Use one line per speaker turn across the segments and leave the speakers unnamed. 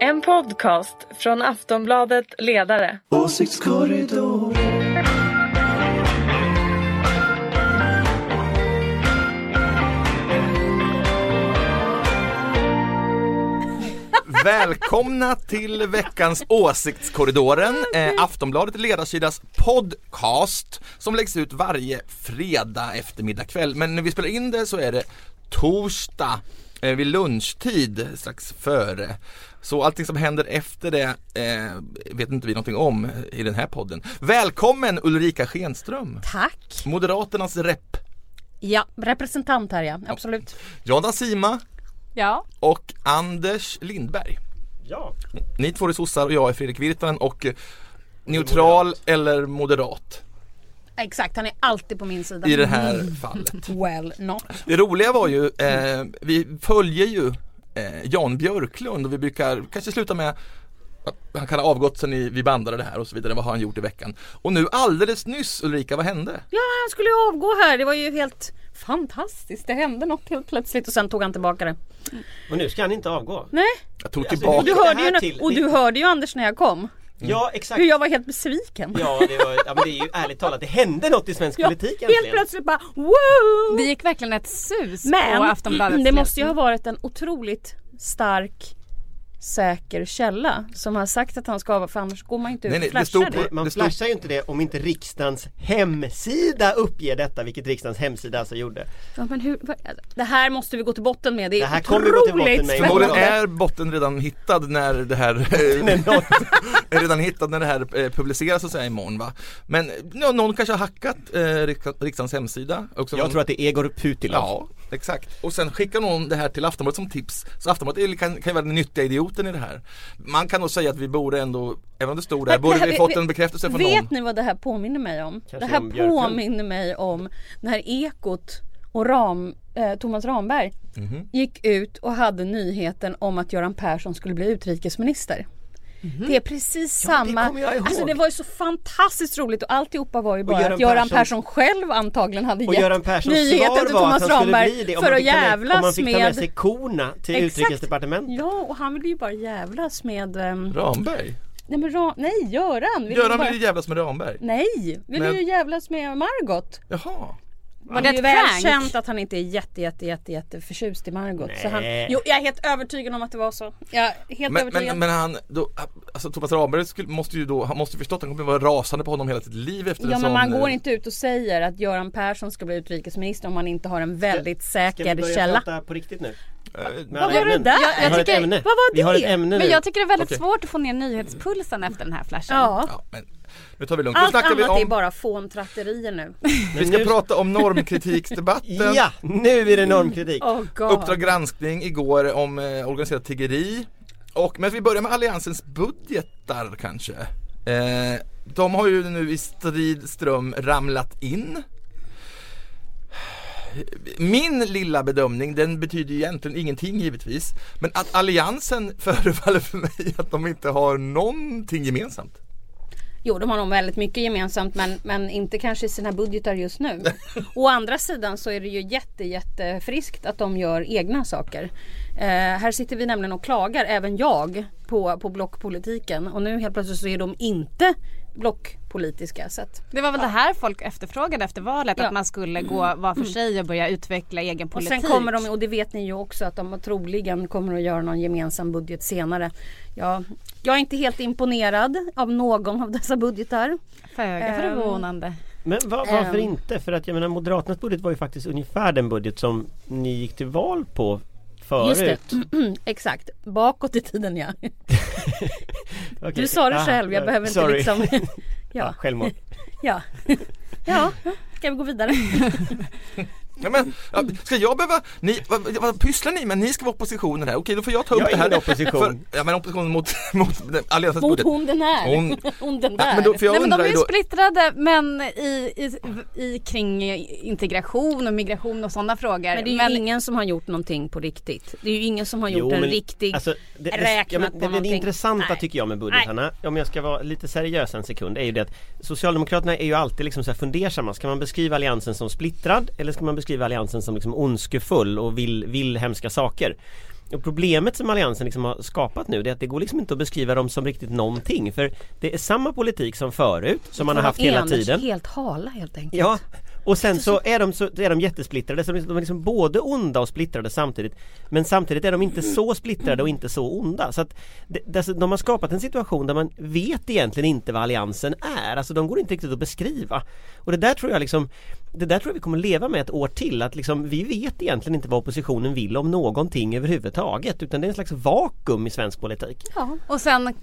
En podcast från Aftonbladet Ledare.
Åsiktskorridoren.
Välkomna till veckans Åsiktskorridoren, eh, Aftonbladet Ledarsidas podcast som läggs ut varje fredag eftermiddag kväll. Men när vi spelar in det så är det torsdag eh, vid lunchtid strax före. Så allting som händer efter det eh, vet inte vi någonting om i den här podden. Välkommen Ulrika Schenström,
Tack.
Moderaternas rep.
Ja, representant här ja, absolut.
Jonna Sima
Ja.
och Anders Lindberg.
Ja,
Ni två är sossar och jag är Fredrik Virtanen och eh, neutral eller moderat
Exakt, han är alltid på min sida.
i det här fallet.
Well not.
Det roliga var ju, eh, vi följer ju eh, Jan Björklund och vi brukar kanske sluta med att han kan ha avgått sen i- vi bandade det här och så vidare, vad har han gjort i veckan? Och nu alldeles nyss Ulrika, vad hände?
Ja, han skulle ju avgå här. Det var ju helt fantastiskt. Det hände något helt plötsligt och sen tog han tillbaka det.
men nu ska han inte avgå.
Nej,
Jag tog
Alltså,
tillbaka
och du
det här
hörde ju,
till-
när, och du hörde ju Anders när jag kom.
Ja, exakt.
Hur jag var helt besviken.
Ja, det, var, ja, men det är ju ärligt talat, det hände något i svensk
Ja,
politik
helt plötsligt bara wow!
Det gick verkligen ett sus på
Men
Aftonbladet.
det måste ju ha varit en otroligt stark säker källa som har sagt att han ska avgå för annars går man ju inte ut
Nej, nej,
och
det stod
flashar
på-
det.
Man
Det stod-
flashar ju inte det om inte riksdagens hemsida uppger detta, vilket riksdagens hemsida alltså gjorde.
Ja, men hur, vad- det här måste vi gå till botten med. Det är
Det här kommer vi gå till botten
otroligt
med.
spännande.
Förmodligen är botten redan hittad när det här
Men något,
är redan hittad när det här eh, publiceras så att säga imorgon va? Men eh, nå- någon kanske har hackat eh, riks- riksdagens hemsida också
jag tror att det är Egor Putilov.
Ja, exakt. Och sen skickar någon det här till Aftonbladet som tips. Så Aftonbladet är- kan, kan ju vara den nyttiga idioten i det här. Man kan nog säga att vi borde ändå, även om det stod där,
Men det
borde
här-
vi fått en bekräftelse från
Vet
någon.
ni vad det här påminner mig om? det
om
här
Björklund.
påminner mig om när Ekot och Ram, eh, Thomas Ramberg
Mhm.
gick ut och hade nyheten om att Göran Persson skulle bli utrikesminister. Det är precis samma,
Mhm. kommer jag ihåg.
alltså det var ju så fantastiskt roligt och alltihopa var ju bara
Göran
att Göran
Persson-
Persson själv antagligen hade
Och
gett
Göran Perssons
nyheten
svar
till
var att
Thomas
han skulle
Ramberg
bli det om
för
man
att
fick ta med, om man
jävlas
fick ta med
med
sig korna till
Exakt.
utrikesdepartementet.
Ja och han ville ju bara jävlas med ehm,
Ramberg?
Nej men Ra- nej Göran! Vill
Göran
bara... Mm.
vill ju jävlas med Ramberg.
Nej! Vill
Men-
du ju jävlas med Margot?
Jaha.
Var
det
det
är ju
ett
väl
prank?
känt att han inte är jätte jätte jätte jätte förtjust i Margot. Så han...
Nej.
Jo jag är helt övertygad om att det var så. Jag är helt
Men,
övertygad.
men, men han, då, alltså Thomas Ramberg skulle, måste ju då, han måste ju förstått att han kommer vara rasande på honom hela sitt liv efter
Ja
en
men
sån
man går
eh,
inte ut och säger att Göran Persson ska bli utrikesminister om man inte har en väldigt
Ska vi
säker
börja
källa.
prata på riktigt nu?
eh,
Med
Vad
alla
var det
ämnen.
där?
Vi
Jag,
har
jag
ett ämne.
tycker,
var
Vi har ett
det?
ämne nu.
men jag tycker det är väldigt
Okej.
svårt att få ner nyhetspulsen efter den här flashen.
Ja.
Ja, men nu tar vi lugnt. Nu
Allt
snackar
annat
vi
är
om,
bara fåntratterier nu.
vi ska
nu-
prata om normkritiksdebatten.
Ja, nu är det normkritik.
Oh
Uppdrag
god.
granskning igår om eh, organiserat tiggeri. Och, men vi börjar med Alliansens budgetar kanske. Eh, de har ju nu i strid ström ramlat in. Min lilla bedömning, den betyder ju egentligen ingenting givetvis. Men att Alliansen förefaller för mig att de inte har någonting gemensamt.
Jo, de har nog väldigt mycket gemensamt men, men inte kanske i sina budgetar just nu. Å andra sidan så är det ju jätte, jättefriskt att de gör egna saker. Eh, här sitter vi nämligen och klagar, även jag, på, på blockpolitiken och nu helt plötsligt så är de inte blockpolitiska. Så att,
Det var väl det här folk efterfrågade efter valet
Ja. Mm.
att man skulle gå var för sig och börja utveckla egen
och
politik.
sen kommer de, och det vet ni ju också, att de troligen kommer att göra någon gemensam budget senare. Ja, jag är inte helt imponerad av någon av dessa budgetar.
Föga
Ehm.
förvånande.
Men va, varför
Ehm.
inte? För att jag menar Moderaternas budget var ju faktiskt ungefär den budget som ni gick till val på förut.
Just det, Mm. exakt. Bakåt i tiden ja.
Okej.
Du sa det
Aha,
själv, jag
ja,
behöver inte
sorry.
liksom
Ja,
ja,
självmål.
ja, ja, ska vi gå vidare?
Ja, men, ja, ska jag behöva, ni, vad, vad pysslar ni med? Ni ska vara oppositionen här, okej då får jag ta upp
Jag
det
är
här
ingen
då.
opposition.
För, ja men oppositionen mot, mot den- Alliansens
Mot
budget.
hon den här,
Hon-
hon, den
Ja,
där.
men då, för jag
Nej men de
undrar
är
ju
ju
då,
splittrade men i, i, i, kring integration och migration och sådana frågor.
Men det är ju ingen som har gjort någonting på riktigt. Det är ju ingen som har gjort
Jo,
en
men
riktig
alltså, det, det,
räknat
ja, men
på
det, det, det
någonting.
intressanta
Nej.
tycker jag med budgetarna, om jag ska vara lite seriös en sekund, är ju det att Socialdemokraterna är ju alltid liksom så här fundersamma. Ska man beskriva Alliansen som splittrad eller ska man beskriva Alliansen som liksom ondskefull och vill, vill hemska saker. Och problemet som Alliansen liksom har skapat nu det är att det går liksom inte att beskriva dem som riktigt någonting för det är samma politik som förut som man har haft hela
Eners,
tiden.
Helt hala helt enkelt.
Ja, och sen så är de, så, är de jättesplittrade, så de är liksom både onda och splittrade samtidigt Men samtidigt är de inte så splittrade och inte så onda så att det, dess- De har skapat en situation där man vet egentligen inte vad alliansen är, alltså de går inte riktigt att beskriva Och det där tror jag liksom Det där tror jag vi kommer leva med ett år till att liksom vi vet egentligen inte vad oppositionen vill om någonting överhuvudtaget utan det är en slags vakuum i svensk politik
Ja.
Och sen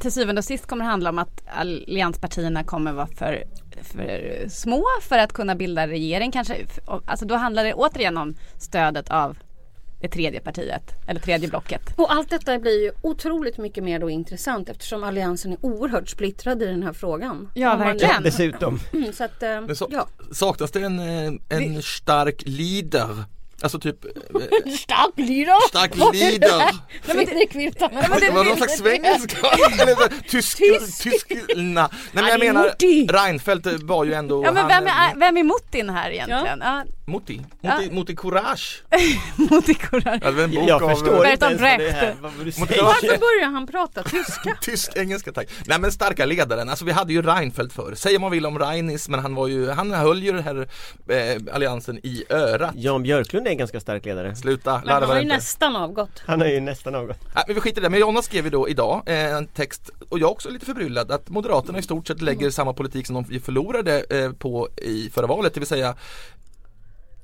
till syvende och sist kommer det handla om att allianspartierna kommer vara för, för små för att kunna bilda regering kanske. Alltså då handlar det återigen om stödet av det tredje partiet eller tredje blocket.
Och allt detta blir ju otroligt mycket mer då intressant eftersom Alliansen är oerhört splittrad i den här frågan.
Ja,
Om man-
verkligen. Den.
Dessutom
Mm, så att, eh,
Men så,
ja.
saknas det en, eh, en stark leader? Alltså typ eh,
Stark lyra!
stark leader?
Fredrik Virtanen.
Det var någon slags svengelska eller så- tysk,
Tysk.
tysk, na. Nej men jag
det är
menar
Mutti.
Reinfeldt var ju ändå
Ja men
han, eh,
vem är, vem är Mutin här egentligen? Ja.
Mutti, Mutti, Mutti Courage
Mutin Kurar.
Ja, Alltså, det var en bok
Jag
av eh,
förstår inte ens
Bertolt
vad det
Brecht.
är, vad du
Varför
säger
Varför Alltså, börjar han prata tyska?
Tysk engelska tack. Nej men starka ledaren, alltså vi hade ju Reinfeldt förr. Säger man vill om Reinis men han var ju, han höll ju den här eh, alliansen i örat.
Jan Björklund är en ganska stark ledare
Sluta,
Men han
larva
har
dig
ju
inte.
nästan avgått.
Han är ju nästan avgått
Nej, men vi skiter i det, men Jonna skrev ju då idag eh, en text och jag är också lite förbryllad att Moderaterna i stort sett
Mm.
lägger samma politik som de förlorade eh, på i förra valet, det vill säga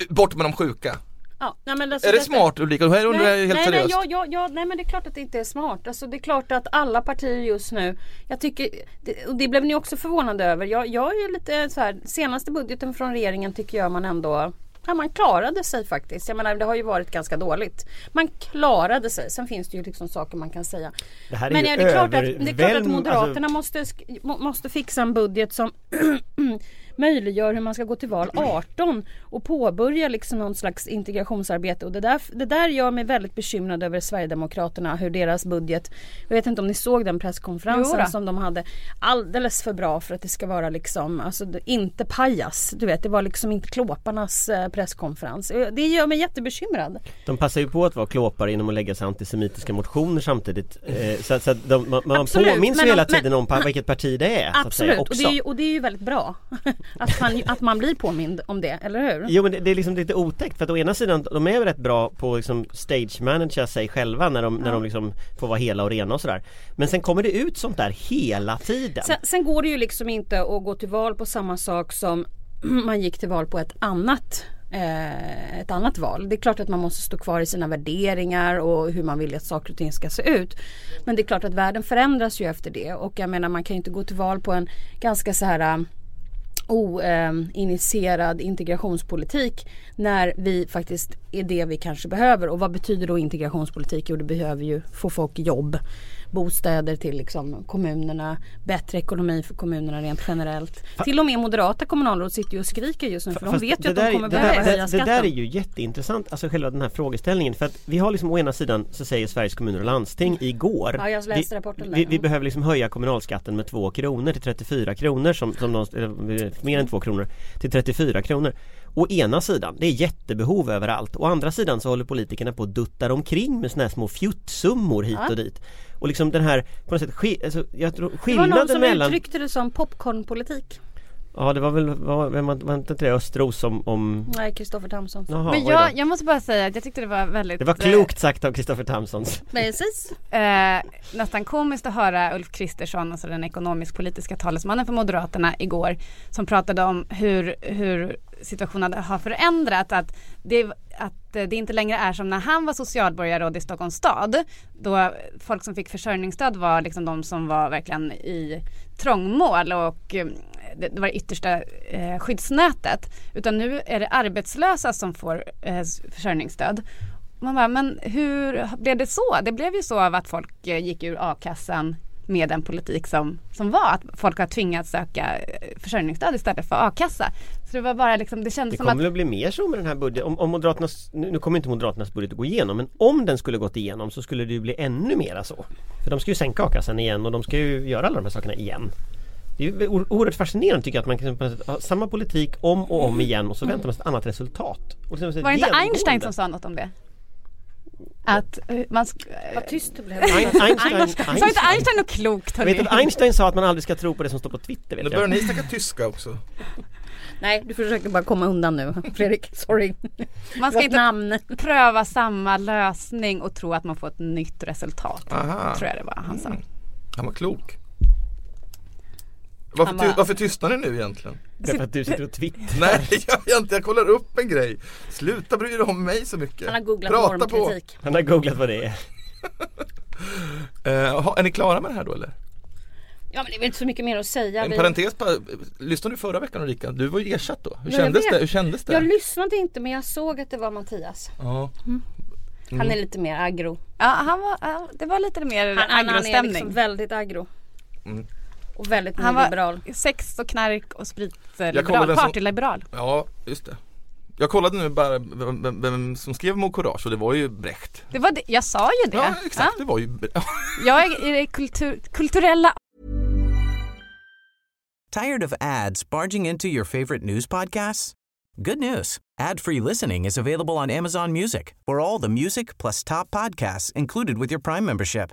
Bort med de sjuka.
Ja, nej, men alltså
Är det
detta-
smart Ulrika? Det här undrar jag helt
nej, nej,
seriöst.
ja, ja, ja, nej men det är klart att det inte är smart. Alltså, det är klart att alla partier just nu. Jag tycker, det, och det blev ni också förvånade över. Jag, jag är ju lite så här, senaste budgeten från regeringen tycker jag man ändå Ja, man klarade sig faktiskt. Jag menar det har ju varit ganska dåligt. Man klarade sig. Sen finns det ju liksom saker man kan säga.
Det här är
Men
ju alltså-
är det, klart att, det är klart att
övervälm-
Moderaterna måste, sk- må- måste fixa en budget som möjliggör hur man ska gå till val 18 och påbörja liksom någon slags integrationsarbete. Och det, där, det där gör mig väldigt bekymrad över Sverigedemokraterna, hur deras budget... Jag vet inte om ni såg den presskonferensen
Jo då.
som de hade. Alldeles för bra för att det ska vara liksom, alltså det- inte pajas. Du vet, det var liksom inte klåparnas eh, presskonferens. Eh, Det gör mig jättebekymrad.
De passar ju på att vara klåpare genom att lägga sig antisemitiska motioner samtidigt eh, Så, att- så att de, man, man
Absolut,
påminns
men
ju hela
de- men-
tiden om pa- vilket parti det är så att
Absolut,
säga,
och
också.
det, är ju, och det är ju väldigt bra att man, att man blir påmind om det, eller hur?
Jo men det, det är liksom lite otäckt för att å ena sidan de är väl rätt bra på att liksom stage managera sig själva när de, när de liksom får vara hela och rena och sådär Men sen kommer det ut sånt där hela tiden
Sen, sen går det ju liksom inte att gå till val på samma sak som man gick till val på ett annat eh, ett annat val. Det är klart att man måste stå kvar i sina värderingar och hur man vill att saker och ting ska se ut. Men det är klart att världen förändras ju efter det och jag menar man kan ju inte gå till val på en ganska så här eh, oinitierad integrationspolitik när vi faktiskt är det vi kanske behöver. Och vad betyder då integrationspolitik? Jo, det behöver ju få folk jobb, bostäder till liksom kommunerna, bättre ekonomi för kommunerna rent generellt. till och med moderata kommunalråd sitter ju och skriker just nu för de
Fast
vet ju att
det
de
där-
kommer
det
behöva
där,
höja
det, det
skatten.
där är ju jätteintressant, alltså själva den här frågeställningen. För att vi har liksom å ena sidan så säger Sveriges kommuner och landsting igår.
Ja, jag läste
vi,
rapporten där,
vi,
ja.
vi behöver liksom höja kommunalskatten med 2 kronor till 34 kronor. Som, som de, eller, eh, mer än 2 kronor till 34 kronor. Å ena sidan, det är jättebehov överallt. Å andra sidan så håller politikerna på och duttar omkring med såna här små fjuttsummor hit och dit. Och liksom den här, på något sätt, ski, alltså, jag tror,
det var
skillnaden
någon som
mellan...
uttryckte det som popcornpolitik.
Ja, det var väl, var, var, var inte det Östros som om...
Nej, Kristoffer Tamsons.
Jaha,
Men
oj då.
jag, jag måste bara säga att jag tyckte det var väldigt
Det var klokt sagt av Kristoffer Tamsons
Precis.
eh, nästan komiskt att höra Ulf Kristersson, alltså den ekonomisk-politiska talesmannen för Moderaterna igår, som pratade om hur, hur situationen har förändrats. Att det, att det inte längre är som när han var socialborgarråd i Stockholms stad. Då folk som fick försörjningsstöd var liksom de som var verkligen i trångmål och eh, det det var det yttersta eh, skyddsnätet. Utan nu är det arbetslösa som får eh, s- försörjningsstöd. Man bara, men hur blev det så? Det blev ju så av att folk eh, gick ur a-kassan med den politik som, som var. Att folk har tvingats söka eh, försörjningsstöd istället för a-kassa. Så det var bara liksom, det kändes
Det
som att
kommer väl att bli mer så med den här budgeten om, om Moderaternas, nu nu kommer inte Moderaternas budget att gå igenom men om den skulle gått igenom så skulle det ju bli ännu mera så För de ska ju sänka a-kassan igen och de ska ju göra alla de här sakerna igen Det är ju o- oerhört fascinerande tycker jag att man kan på något sätt ha samma politik om och om igen och så väntar man sig ett annat resultat. Och liksom så
Var det inte
genomgående.
Einstein som sa något om det? Att eh, man... sk- eh,
Vad tyst det blev.
Ein- Einstein,
Sa inte
Einstein.
Einstein något klokt
Jag vet
hörni?
att Einstein sa att man aldrig ska tro på det som står på Twitter
Nu
vet
börjar
jag.
ni snacka tyska också.
Nej, du försöker bara komma undan nu Fredrik. Sorry.
Man ska
Vårt
inte
namn.
pröva samma lösning och tro att man får ett nytt resultat.
Aha,
Tror jag det var han sa.
Mm.
han var klok. Varför,
Han bara-
ty- varför tystnar ni nu egentligen?
Därför att du sitter och twittrar.
Nej det gör jag inte, jag kollar upp en grej. Sluta bry dig om mig så mycket.
Han har googlat
Prata
normkritik.
Han har googlat vad det är.
på. Eh, ha- är ni klara med det här då eller?
Ja, men det är väl inte så mycket mer att säga.
en
Vi-
parentes bara, lyssnade du förra veckan Ulrika? Du var ju ersatt då. Hur
Ja, jag
kändes
vet.
det? Hur kändes det?
Jag lyssnade inte men jag såg att det var Mattias.
ja. Mm.
Han är lite mer aggro.
Ja, han var, ja, det var lite mer
Han, han, han är
aggrostämning.
liksom väldigt aggro.
Mm.
Och väldigt
Han
mer
var-
liberal.
Sex och knark
Jag kollar
och spritliberal,
den som-
partyliberal.
ja, just det. Jag kollade nu bara vem, vem, vem som skrev Mo Courage och det var ju Brecht.
Det var det, jag sa ju det.
Ja exakt, det var ju Bre-
Ja, jag är i det kultur, kulturella
Tired of ads barging into your favorite news podcasts? Good news. Ad-free listening is available on Amazon Music. For all the music plus top podcasts included with your Prime membership.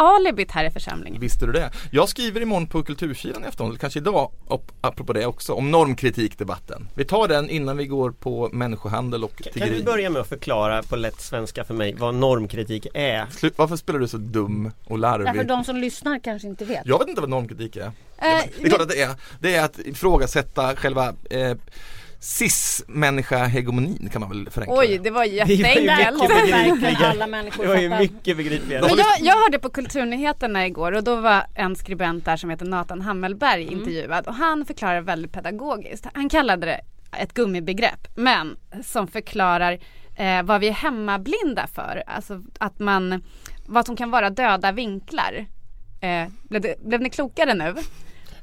alibit här i församlingen.
Visste du det? Jag skriver imorgon på Kulturkilen i afton, eller kanske idag, op- apropå det också, om normkritikdebatten. Vi tar den innan vi går på människohandel och
Kan
tiggeri.
du börja med att förklara på lätt svenska för mig vad normkritik är?
Slu- Varför spelar du så dum och
Därför
larvig?
de som lyssnar kanske inte vet.
Jag vet inte vad normkritik är.
Eh,
det är klart att det är. Det är att ifrågasätta själva eh, cis-människa-hegemonin kan man väl förenkla
Oj,
det.
det var
Där
jätteenkelt.
mycket
kommer verkligen
begripligare.
alla
Det
människor
var ju
fatta.
mycket begripligare.
Men jag, jag hörde på Kulturnyheterna igår och då var en skribent där som heter Nathan Hammelberg
Mm.
intervjuad och han förklarar väldigt pedagogiskt. Han kallade det ett gummibegrepp men som förklarar eh, vad vi är hemmablinda för. Alltså att man, vad som kan vara döda vinklar. Eh, blev, det, blev ni klokare nu?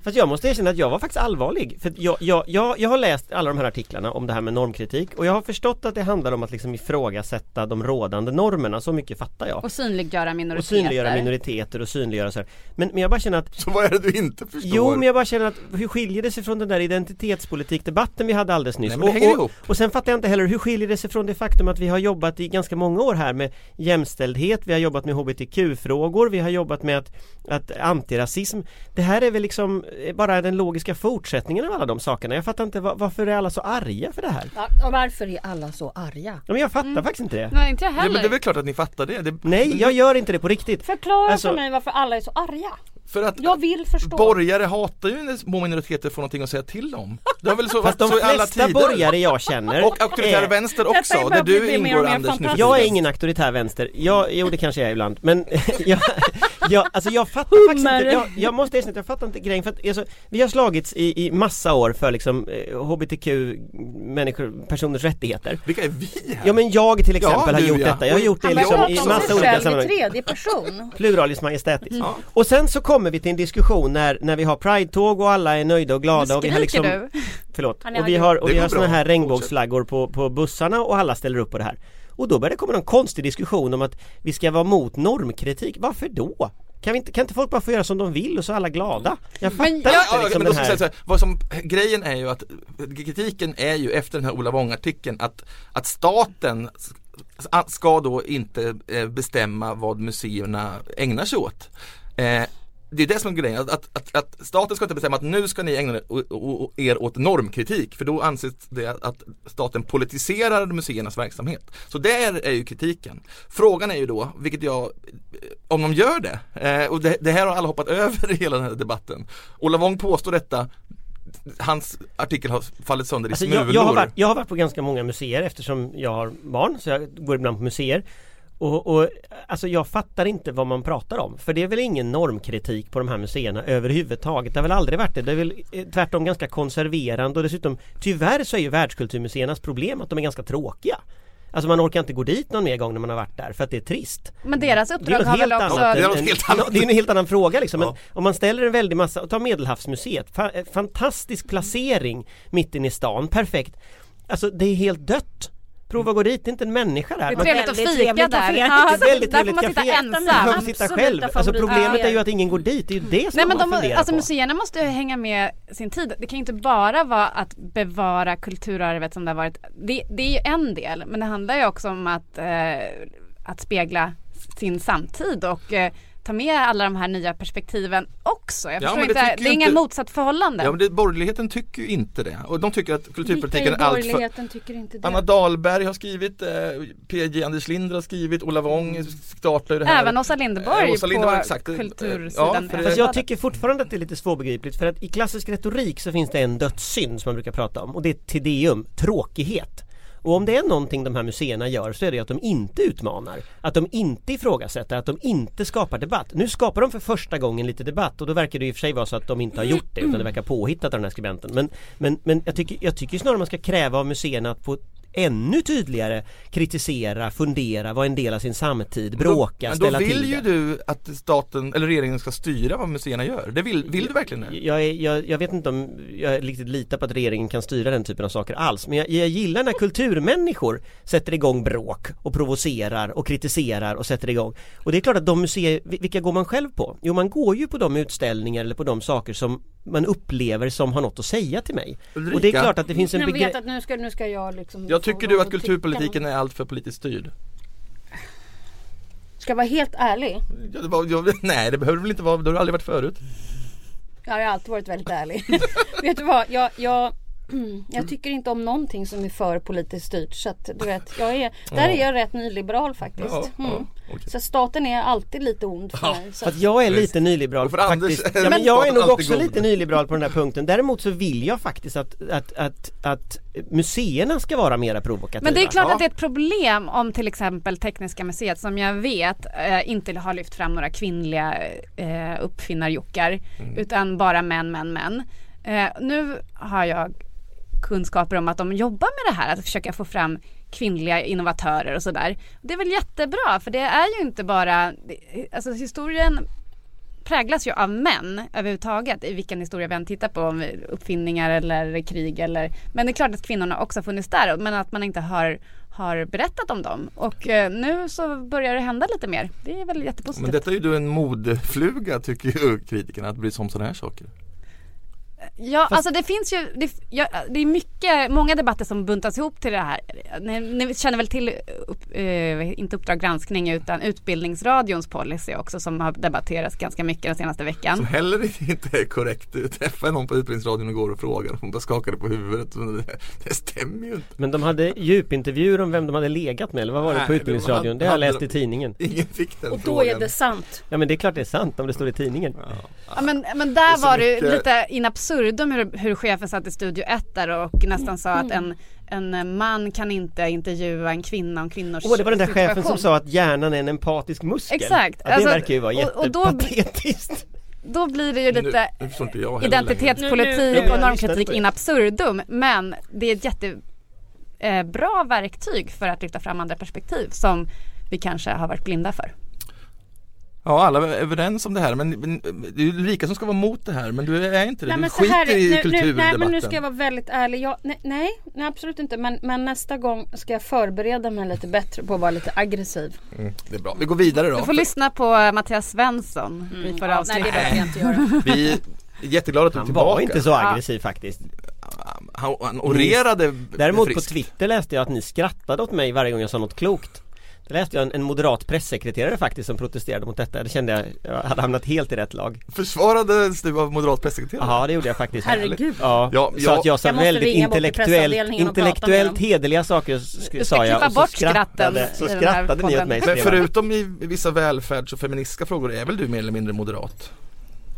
Fast jag måste erkänna att jag var faktiskt allvarlig. För att jag, jag, jag, jag har läst alla de här artiklarna om det här med normkritik och jag har förstått att det handlar om att liksom ifrågasätta de rådande normerna, så mycket fattar jag.
Och synliggöra
Och
minoriteter.
synliggöra minoriteter och synliggöra så här. Men, men jag bara känner att
Så vad är det du inte förstår?
Jo men jag bara känner att hur skiljer det sig från den där identitetspolitikdebatten vi hade alldeles nyss?
Nej, men det hänger
och,
ihop.
och, och sen fattar jag inte heller hur skiljer det sig från det faktum att vi har jobbat i ganska många år här med jämställdhet, vi har jobbat med hbtq-frågor, vi har jobbat med att, att antirasism. Det här är väl liksom eh, bara den logiska fortsättningen av alla de sakerna. Jag fattar inte va- varför är alla så arga för det här?
Ja, och varför är alla så arga?
Ja, men jag fattar faktiskt inte det.
Nej inte jag
Ja, men
heller.
det är väl klart att ni fattar det. det
Nej, jag gör inte det på riktigt.
Förklara
Alltså-
för mig varför alla är så arga.
För att
Jag vill förstå.
borgare hatar ju när små minoriteter får någonting att säga till om. Det har väl så
Fast
varit så
de
i alla
flesta
tider.
borgare jag känner Eh,
Och auktoritär
är-
vänster
Eh, Detta
också,
är
där
bara
du
blir mer och
ingår
mer
Anders nu för
Jag är
tiden.
ingen auktoritär vänster, jag, jo det kanske jag är ibland men jag, jag, alltså jag fattar faktiskt inte,
Hummer.
jag, jag måste erkänna att jag fattar inte grejen för att alltså, vi har slagits i, i massa år för liksom eh, hbtq människor, personers rättigheter
Vilka är vi här?
Ja men jag till exempel har
du,
gjort
ja.
detta, jag har
Och-
gjort det
Han börjar
liksom i
prata om
massa
sig
olika
själv i
sammanhang
tredje person.
Pluralis majestätis. Och sen så kommer vi till en diskussion när, när vi har pride-tåg och alla är nöjda och glada och vi har
Skriker
liksom
du?
Förlåt.
Han är
Och vi
arg.
har, och
Det
vi
går
har såna
bra.
här regnbågsflaggor på, på bussarna och alla ställer upp på det här. Och då börjar det komma någon konstig diskussion om att vi ska vara mot normkritik. Varför då? Kan, vi inte, kan inte folk bara få göra som de vill och så är alla glada? Jag fattar
jag-
inte
Ja, ja,
liksom
men då ska
den
jag
här.
säga så här, vad som, grejen är ju att kritiken är ju efter den här Ola Wång-artikeln att, att staten s- s- ska då inte eh, bestämma vad museerna ägnar sig åt. Eh, det är det som är grejen, att, att, att, att staten ska inte bestämma att nu ska ni ägna er o- o- er åt normkritik för då anses det att staten politiserar museernas verksamhet. Så där är ju kritiken. Frågan är ju då, vilket jag, eh, om de gör det, eh, och det, det här har alla hoppat över i hela den här debatten. Ola Wong påstår detta, hans artikel har fallit sönder i
Alltså,
smulor.
jag, jag, har varit, jag har varit på ganska många museer eftersom jag har barn så jag går ibland på museer. Och, och alltså jag fattar inte vad man pratar om. För det är väl ingen normkritik på de här museerna överhuvudtaget. Det har väl aldrig varit det. Det är väl eh, tvärtom ganska konserverande och dessutom tyvärr så är ju världskulturmuseernas problem att de är ganska tråkiga. Alltså man orkar inte gå dit någon mer gång när man har varit där för att det är trist.
Men deras
Det är
uppdrag
ju
har
något
väl
helt typ.
också...
Det är
annat.
något helt annat.
Det är ju en helt annan fråga liksom. Men
Ja.
om man ställer en väldig massa, ta Medelhavsmuseet, fa- eh, fantastisk placering mitt inne i stan, perfekt. Alltså det är helt dött. Prova att gå dit, det är inte en människa där.
Det är
Man-
trevligt att
Väldigt
fika
trevligt
där.
café.
Ja,
Det är väldigt
där får
trevligt
man sitta
café. Man
ensam.
behöver sitta
Absoluta
själv. Alltså
favoriter.
problemet är ju att ingen går dit, det är ju det som
Nej men
man
de,
funderar
alltså
på.
museerna måste ju hänga med sin tid. Det kan ju inte bara vara att bevara kulturarvet som det har varit. Det, det är ju en del men det handlar ju också om att, eh, att spegla sin samtid och eh, ta med alla de här nya perspektiven också. Jag
Ja,
förstår
men det
inte,
tycker
det,
ju
är inga
inte-
motsatsförhållanden.
Ja men det, borgerligheten tycker ju inte det och de tycker att kulturpolitiken är
Vilka i
allt för
borgerligheten tycker inte det?
Anna Dahlberg har skrivit, eh, PJ Anders Lind har skrivit, Ola Wång startar ju det här
Mm. Även Åsa Linderborg
Eh, Åsa
på
Linderborg, exakt. Eh, ja,
kultursidan.
för det-
Fast jag tycker fortfarande att det är lite svårbegripligt för att i klassisk retorik så finns det en dödssynd som man brukar prata om och det är tedeum, tråkighet. Och om det är någonting de här museerna gör så är det att de inte utmanar, att de inte ifrågasätter, att de inte skapar debatt. Nu skapar de för första gången lite debatt och då verkar det i och för sig vara så att de inte har gjort det utan det verkar påhittat av den här skribenten. Men, men, men jag, tycker, jag tycker snarare man ska kräva av museerna att på ännu tydligare kritisera, fundera, vara en del av sin samtid,
Men
bråka,
då
ställa
vill
till
ju
det.
du att staten eller regeringen ska styra vad museerna gör. Det vill, vill du verkligen det?
Jag, är, jag, jag vet inte om jag riktigt litar på att regeringen kan styra den typen av saker alls Men jag, jag gillar när kulturmänniskor sätter igång bråk och provocerar och kritiserar och sätter igång Och det är klart att de museer, vil- vilka går man själv på? Jo man går ju på de utställningar eller på de saker som man upplever som har något att säga till mig Och det är
Ulrika?
klart att det finns en
Nu vet
begränsning
att nu ska, nu ska jag liksom
Jag
få
tycker
dem
du att
tycka
kulturpolitiken
något.
är allt för politiskt styrd?
Ska jag vara helt ärlig
Ja, det var, jag, nej det behöver väl inte vara, det har det aldrig varit förut.
Jag har alltid varit väldigt ärlig. vet du vad, jag, jag, jag tycker inte om någonting som är för politiskt styrt. Så att, du vet, jag är, där är jag rätt nyliberal
Ja,
faktiskt.
ja,
Mm.
okej.
Så staten är alltid lite ond för mig. Så.
Att jag är lite nyliberal
Och för Anders
faktiskt.
är
Ja, men jag är nog
alltid
också
god.
lite nyliberal på den här punkten. Däremot så vill jag faktiskt att, att, att, att museerna ska vara mera provokativa.
Men det är klart
Ja.
att det är ett problem om till exempel Tekniska museet som jag vet eh, inte har lyft fram några kvinnliga eh, uppfinnarjockar utan bara män, män, män. Eh, nu har jag kunskaper om att de jobbar med det här att försöka få fram kvinnliga innovatörer och sådär. Det är väl jättebra för det är ju inte bara, det- alltså historien präglas ju av män överhuvudtaget i vilken historia vi än tittar på. Om uppfinningar eller krig eller... Men det är klart att kvinnorna också har funnits där men att man inte har, har berättat om dem. Och eh, nu så börjar det hända lite mer. Det är väl jättepositivt.
Men detta är ju du en modefluga tycker ju kritikerna att bry sig om sådana här saker.
Ja, alltså det finns ju... Det, ja, det är mycket, många debatter som buntas ihop till det här. Ni, ni känner väl till, upp, eh, inte Uppdrag granskning utan Utbildningsradions policy också som har debatterats ganska mycket den senaste veckan.
Ah.
Som heller inte är korrekt. Jag träffade någon på Utbildningsradion igår och frågade. Hon bara skakade på huvudet. Men Det, det stämmer ju inte.
Men de hade djupintervjuer om vem de hade legat med eller vad var det
Nej,
på
det
Utbildningsradion?
var-
Det har jag
hade
läst
de-
i tidningen.
Ingen fick den
Och då
frågan.
är det sant.
Ja men det är klart det är sant om det står i tidningen.
Ja, men, men
Det är
där
så
var det ju
mycket-
lite in absurdum hur, hur chefen satt i Studio 1 där och nästan sa att
Mm.
en, en eh, man kan inte intervjua en kvinna om kvinnors
Åh det var den där chefen som
situation.
sa att hjärnan är en empatisk muskel.
Exakt.
Ja, det
Alltså,
verkar ju vara
och- och då-
jättepatetiskt.
Då blir det ju lite
nu, nu förstår inte jag heller längre.
Nu- nu-
identitetspolitik
nu-
och
jag lyssnar
normkritik
på er.
in absurdum men det är ett jättebra verktyg för att lyfta fram andra perspektiv som vi kanske har varit blinda för.
Ja alla är överens om det här men, men det är ju Ulrika som ska vara emot det här men du är inte det.
Nej,
du
men så
skiter
här,
i
nu, nu,
kulturdebatten.
nej men nu ska jag vara väldigt ärlig. Jag, nej, nej, nej absolut inte. Men, men nästa gång ska jag förbereda mig lite bättre på att vara lite aggressiv.
mm, det är bra. Vi går vidare då.
Du får lyssna på eh, Mattias Svensson i förra
Mm. nej
avsnittet.
det behöver jag inte göra.
Vi är jätteglada att du är
Han
tillbaka.
var inte så aggressiv faktiskt.
Han, han orerade
Däremot på
friskt.
Twitter läste jag att ni skrattade åt mig varje gång jag sa något klokt Det läste jag en, en moderat pressekreterare faktiskt som protesterade mot detta Det kände jag, jag hade hamnat helt i rätt lag
Försvarades du av moderat pressekreterare?
Ja det gjorde jag faktiskt
Herregud.
ja,
Ja,
Så
jag-
att jag sa
Jag måste
väldigt
ringa bort till
intellektuellt,
pressavdelningen och prata med
intellektuellt
dem.
hederliga saker sk-
ska
sa jag
klippa
och så
bort
skrattade,
skratten
så
i den
skrattade
här
ni åt
podden.
mig
Men
skrev han.
förutom i vissa välfärds och feministiska frågor är väl du mer eller mindre moderat?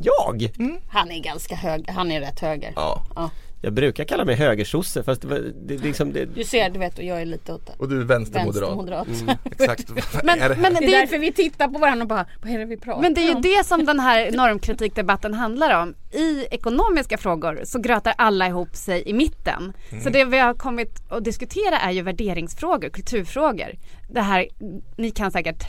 Jag?
Han är ganska hög. Han är rätt höger.
Ja.
Jag brukar kalla mig högersosse fast det, var- det, det, liksom, det,
Du ser, du vet, och jag är lite åt
Och du är vänstermoderat. Mm,
vänstermoderat.
Exakt. Vad
Men,
är det här?
men,
Det
det
är
är,
därför vi tittar på varandra och bara, vad är det vi pratar
men det är ju
om?
det som den här normkritikdebatten handlar om. I ekonomiska frågor så grötar alla ihop sig i mitten.
Mm.
Så det vi har kommit att diskutera är ju värderingsfrågor, kulturfrågor. Det här, ni kan säkert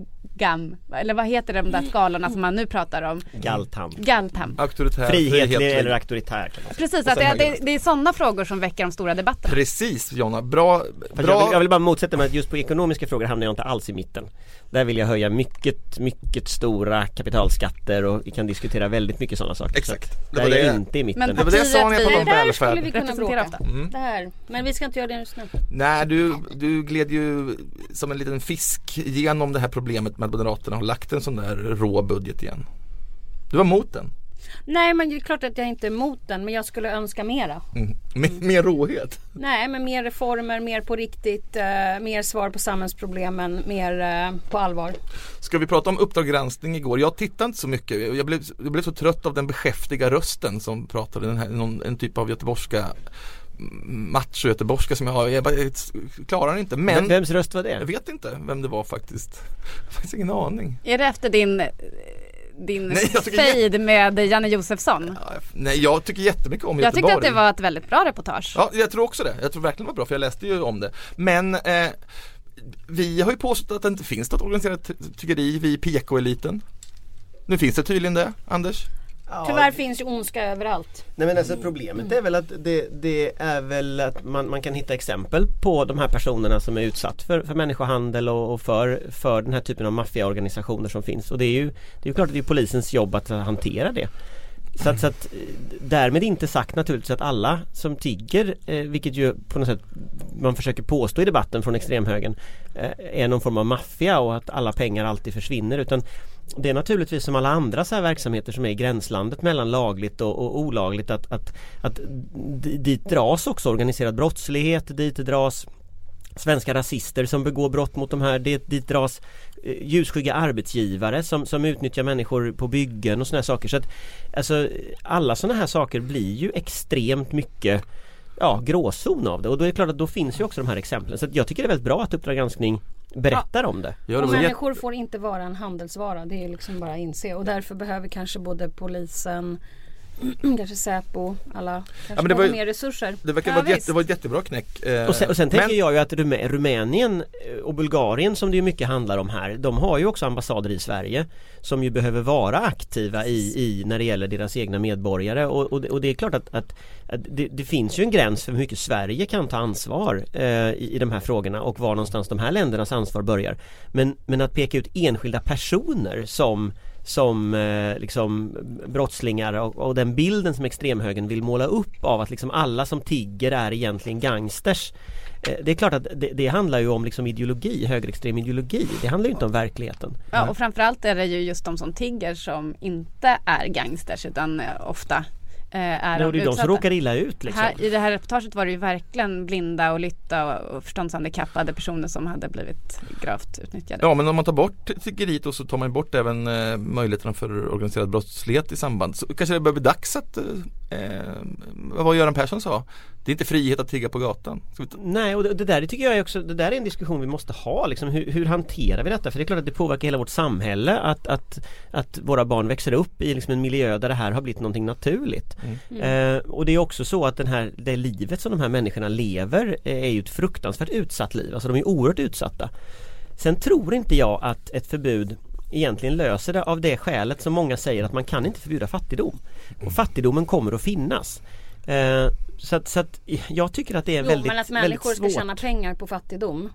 talgam, eller vad heter de där skalorna som man nu pratar om?
Galtamp.
Galtam.
Auktoritär,
Frihetlig
Mm. frihetlig.
eller auktoritär. kan man säga.
Precis, att det, det, det är sådana frågor som väcker de stora debatterna.
Precis Jonna, bra,
Fast jag, vill, jag
bra
vill bara motsätta mig att just på ekonomiska frågor hamnar jag inte alls i mitten. Där vill jag höja mycket, mycket stora kapitalskatter och vi kan diskutera väldigt mycket sådana saker.
Exakt.
Så att
Det var
Där är jag
det-
inte i mitten.
Men
var det jag sa när jag
partiet
pratade om
vi
Där skulle
välfärd.
vi kunna
representerar
bråka.
ofta.
Mm.
Där. Men vi ska inte göra det just nu.
Nej du, du gled ju som en liten fisk genom det här problemet med att Moderaterna har lagt en sån där rå budget igen Du var mot den,
Nej men det är klart att jag inte är emot den men jag skulle önska mera.
mm. med, med råhet
Nej men mer reformer, mer på riktigt, eh, mer svar på samhällsproblemen, mer eh, på allvar.
Ska vi prata om Uppdrag granskning igår? Jag tittade inte så mycket. Jag blev, jag blev så trött av den beskäftiga rösten som pratade, den här, någon, en typ av göteborgska macho-göteborgska som jag har. Jag, bara, jag klarar den inte
Men...
men
Vems röst var
jag
det?
vet inte vem det var faktiskt. Jag har faktiskt ingen aning.
Är det efter din, eh, din
Nej, jag tycker
fejd med Janne Josefsson?
Ja, jag- Nej, jag tycker jättemycket om
Jag
Göteborg.
tyckte att det var ett väldigt bra reportage.
Ja, jag tror också det. Jag tror verkligen det var bra för jag läste ju om det. Men eh, vi har ju påstått att det inte finns något organiserat ty- tyckeri, vi i PK-eliten. Nu finns det tydligen det, Anders.
Tyvärr finns ju ondska överallt.
Nej men alltså problemet är väl att det, det är väl att man, man kan hitta exempel på de här personerna som är utsatt för, för människohandel och, och för, för den här typen av maffiaorganisationer som finns och det är ju Det är ju klart att det är polisens jobb att hantera det så att, så att eh, därmed inte sagt naturligtvis att alla som tigger, eh, vilket ju på något sätt man försöker påstå i debatten från extremhögern, eh, är någon form av maffia och att alla pengar alltid försvinner. Utan det är naturligtvis som alla andra så här verksamheter som är i gränslandet mellan lagligt och, och olagligt att, att, att di- dit dras också organiserad brottslighet, dit dras svenska rasister som begår brott mot de här. Det, dit dras eh, ljusskygga arbetsgivare som, som utnyttjar människor på byggen och såna här saker. Så att, alltså, alla sådana här saker blir ju extremt mycket ja, gråzon av det och då är det klart att då finns ju också de här exemplen. Så att jag tycker det är väldigt bra att Uppdrag granskning berättar om det.
Ja,
Och människor får inte vara en handelsvara. Det är liksom bara att inse. Och därför behöver kanske både polisen, kanske Säpo, alla kanske
men det
behöver
var ju-
mer resurser.
Det verkar
Ja,
vara ett,
visst.
jätte, det var ett jättebra knäck. eh,
Och sen, och sen
men,
tänker jag ju att Rumä- Rumänien eh, och Bulgarien som det ju mycket handlar om här De har ju också ambassader i Sverige Som ju behöver vara aktiva i, i när det gäller deras egna medborgare och, och, det, och det är klart att, att, att det, det finns ju en gräns för hur mycket Sverige kan ta ansvar eh, i, i de här frågorna och var någonstans de här ländernas ansvar börjar Men, men att peka ut enskilda personer som som eh, liksom brottslingar och, och den bilden som extremhögern vill måla upp av att liksom alla som tigger är egentligen gangsters. Eh, det är klart att det, det handlar ju om liksom ideologi, högerextrem ideologi. Det handlar ju inte om verkligheten.
Ja, och framförallt är det ju just de som tigger som inte är gangsters utan eh, ofta eh, är
Nej, och det är ju de som
utsatta.
råkar illa ut liksom.
här, I det här reportaget var det ju verkligen blinda och lytta och, och förståndshandikappade personer som hade blivit gravt utnyttjade.
Ja men om man tar bort tyckeriet och så tar man bort även eh, möjligheterna för organiserad brottslighet i samband så kanske det börjar bli dags att eh, eh, Vad var Göran Persson sa? Det är inte frihet att tigga på gatan. Ska vi ta-
Nej och det, det där tycker jag är också, det där är en diskussion vi måste ha liksom. hur, hur hanterar vi detta? För det är klart att det påverkar hela vårt samhälle att, att, att våra barn växer upp i liksom en miljö där det här har blivit någonting naturligt. Eh, och det är också så att den här, det livet som de här människorna lever eh, är ju ett fruktansvärt utsatt liv. Alltså de är oerhört utsatta. Sen tror inte jag att ett förbud egentligen löser det av det skälet som många säger att man kan inte förbjuda fattigdom. Och fattigdomen kommer att finnas. Eh, så att, så att jag tycker att det är
Jo,
väldigt,
men att
väldigt
alltså människor ska
svårt.
tjäna pengar på fattigdom.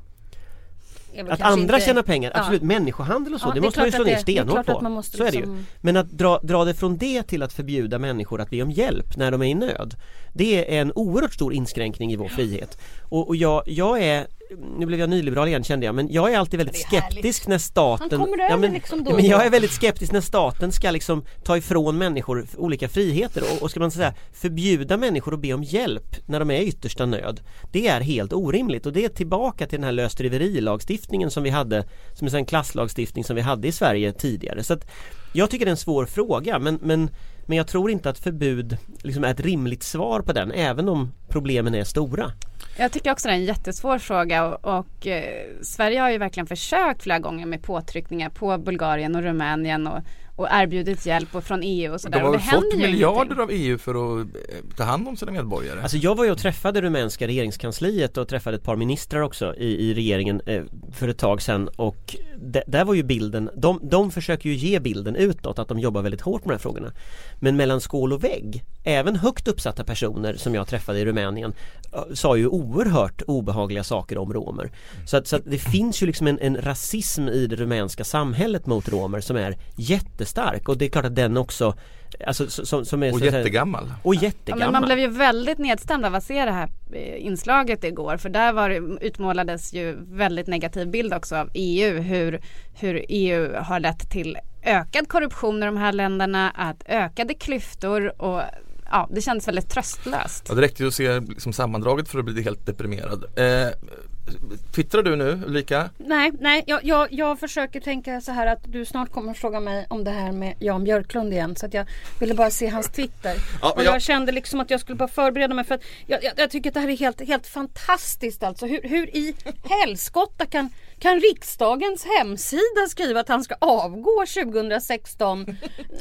är väl
Att
kanske
andra
inte-
tjänar pengar,
Ja.
absolut människohandel och så,
Ja,
det,
det är
måste man ju
klart
slå
att
ner
det- det är
stenhårt
klart att
på.
man måste
så är det ju.
liksom-
Men att dra, dra det från det till att förbjuda människor att be om hjälp när de är i nöd Det är en oerhört stor inskränkning i vår frihet Och, och jag, jag är nu blev jag nyliberal igen kände jag men jag är alltid väldigt
Det är härligt.
skeptisk när staten
Han kommer
ja, men,
över liksom då
ja,
och
men
då.
jag är väldigt skeptisk när staten ska liksom ta ifrån människor f- olika friheter och, och ska man säga förbjuda människor att be om hjälp när de är i yttersta nöd Det är helt orimligt och det är tillbaka till den här lösdriverilagstiftningen som vi hade Som är en klasslagstiftning som vi hade i Sverige tidigare så att Jag tycker det är en svår fråga men, men Men jag tror inte att förbud liksom är ett rimligt svar på den även om problemen är stora.
Jag tycker också det är en jättesvår fråga och, och eh, Sverige har ju verkligen försökt flera gånger med påtryckningar på Bulgarien och Rumänien och, och erbjudit hjälp och från EU och sådär.
De har
och det
väl fått
händer ju
miljarder
ingenting.
av EU för att eh, ta hand om sina medborgare?
Alltså jag var ju och träffade rumänska regeringskansliet och träffade ett par ministrar också i, i regeringen eh, för ett tag sedan och d- där var ju bilden, de, de försöker ju ge bilden utåt att de jobbar väldigt hårt med de här frågorna. Men mellan skål och vägg, även högt uppsatta personer som jag träffade i Rumänien eh, sa ju oerhört obehagliga saker om romer. Så att, så att det finns ju liksom en, en rasism i det rumänska samhället mot romer som är jättestark och det är klart att den också Alltså, s- som, som är,
och
så att säga-
jättegammal.
Och
Ja,
jättegammal.
men man blev ju väldigt nedstämd av att se det här eh, inslaget igår för där var, det- utmålades ju väldigt negativ bild också av EU hur, hur EU har lett till ökad korruption i de här länderna, att ökade klyftor och ja, det kändes väldigt tröstlöst.
Ja, det räckte ju att se liksom sammandraget för att bli helt deprimerad. Eh, twittrar du nu Ulrika?
Nej, nej jag, jag, jag försöker tänka så här att du snart kommer att fråga mig om det här med Jan Björklund igen. Så att jag ville bara se hans Twitter.
Ja,
och
men
jag...
jag-
kände liksom att jag skulle bara förbereda mig för att jag, jag, jag tycker att det här är helt, helt fantastiskt alltså. Hur, hur i helskotta kan, kan riksdagens hemsida skriva att han ska avgå 2016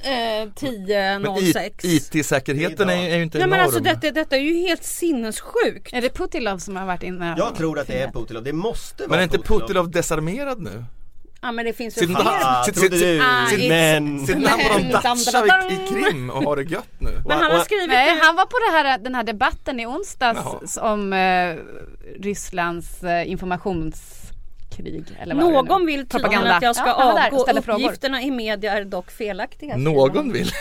eh, 10
Men I-
06?
IT-säkerheten är, är ju inte
Nej
enorm.
men alltså detta, detta är ju helt sinnessjukt.
Är det Putilov som har varit inne?
Jag tror att det är Putilov, det måste
Men
vara
är inte Putilov desarmerad nu?
Ja men det finns ju
Sitter inte
fler.
han-
Ah,
sitter-
trodde
sitter-
du.
Ah,
sitter-
Men
sitter han på någon
Men-
dacha i, i Krim och har det gött nu?
Men han har
Och- och-
skrivit
Nej,
det.
han var på det här, den här debatten i onsdags om eh, Rysslands eh, informationskrig. Eller vad det nu-
Någon vill tydligen
Propaganda.
att jag ska
Ja, han var där och
avgå.
ställde frågor.
Uppgifterna i media är dock felaktiga. skriver
Någon
han.
vill?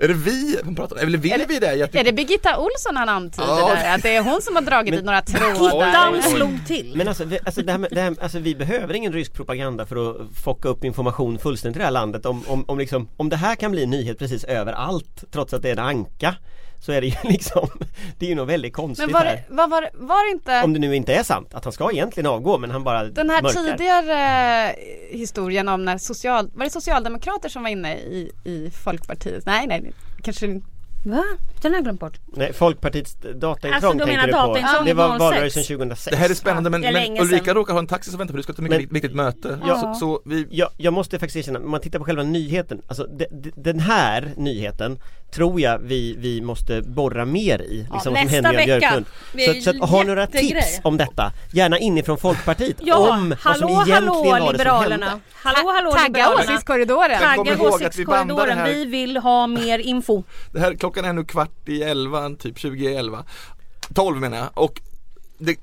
är det vi? Vem pratar Eller vill vi det? Jag
Är
tycker...
det Birgitta Olsson han antyder
Ja.
där? Att det är hon som har dragit i några
Birgitta!
trådar?
Damm
Oj, oj.
slog till.
Men alltså, vi, alltså, det här med, det här, alltså vi behöver ingen rysk propaganda för att focka upp information fullständigt i det här landet om, om, om, liksom, om det här kan bli nyhet precis överallt trots att det är en anka Så är det ju liksom Det är ju något väldigt konstigt
Men var det,
här
var, var, var det inte
Om det nu inte är sant att han ska egentligen avgå men han bara
den här
mörkar.
tidigare eh, historien om när social, var det socialdemokrater som var inne i, i Folkpartiet? Nej, nej, kanske inte.
Va? Den har jag glömt bort.
Nej, Folkpartiets dataintrång
Alltså, du
tänker
menar
du på
dataintrång
Det var
06.
valrörelsen 2006
Det här är spännande men,
Det är
men
länge sedan.
Ulrika råkar ha en taxi som väntar på dig, du ska till ett
Men-
mycket viktigt möte.
Ja.
Så, så vi...
jag, jag måste faktiskt erkänna, om man tittar på själva nyheten, alltså de, de, den här nyheten tror jag vi, vi måste borra mer i. Liksom,
Ja,
vad som
nästa
händer i
vecka.
Björklund.
Det
Så,
är
att- så att, har några
jättegrej.
tips om detta, gärna inifrån Folkpartiet,
Ja,
om vad som
hallå
egentligen
hallå
var det som hände.
Liberalerna. Hallå hallå
Tagga
Liberalerna.
åsiktskorridoren.
Men kom
Tagga
ihåg att vi bandar det
åsiktskorridoren.
här.
Vi vill ha mer info.
Det här, klockan är nu kvart i elva, typ 20 i elva. 12 menar jag. Och det,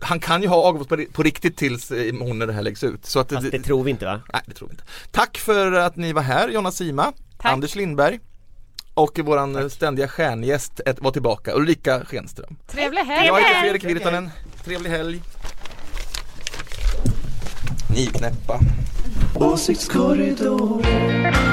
han kan ju ha avgått på, ri- på riktigt tills eh, imorgon när det här läggs ut. Så att
Fast det tror vi inte va?
Nej, det tror vi inte. Tack för att ni var här, Jonna Sima,
Tack.
Anders Lindberg och våran ständiga stjärngäst ett- var tillbaka, Ulrika Schenström.
Trevlig helg!
Jag heter Fredrik Virtanen, trevlig helg. Ni är knäppa.
Åsiktskorridoren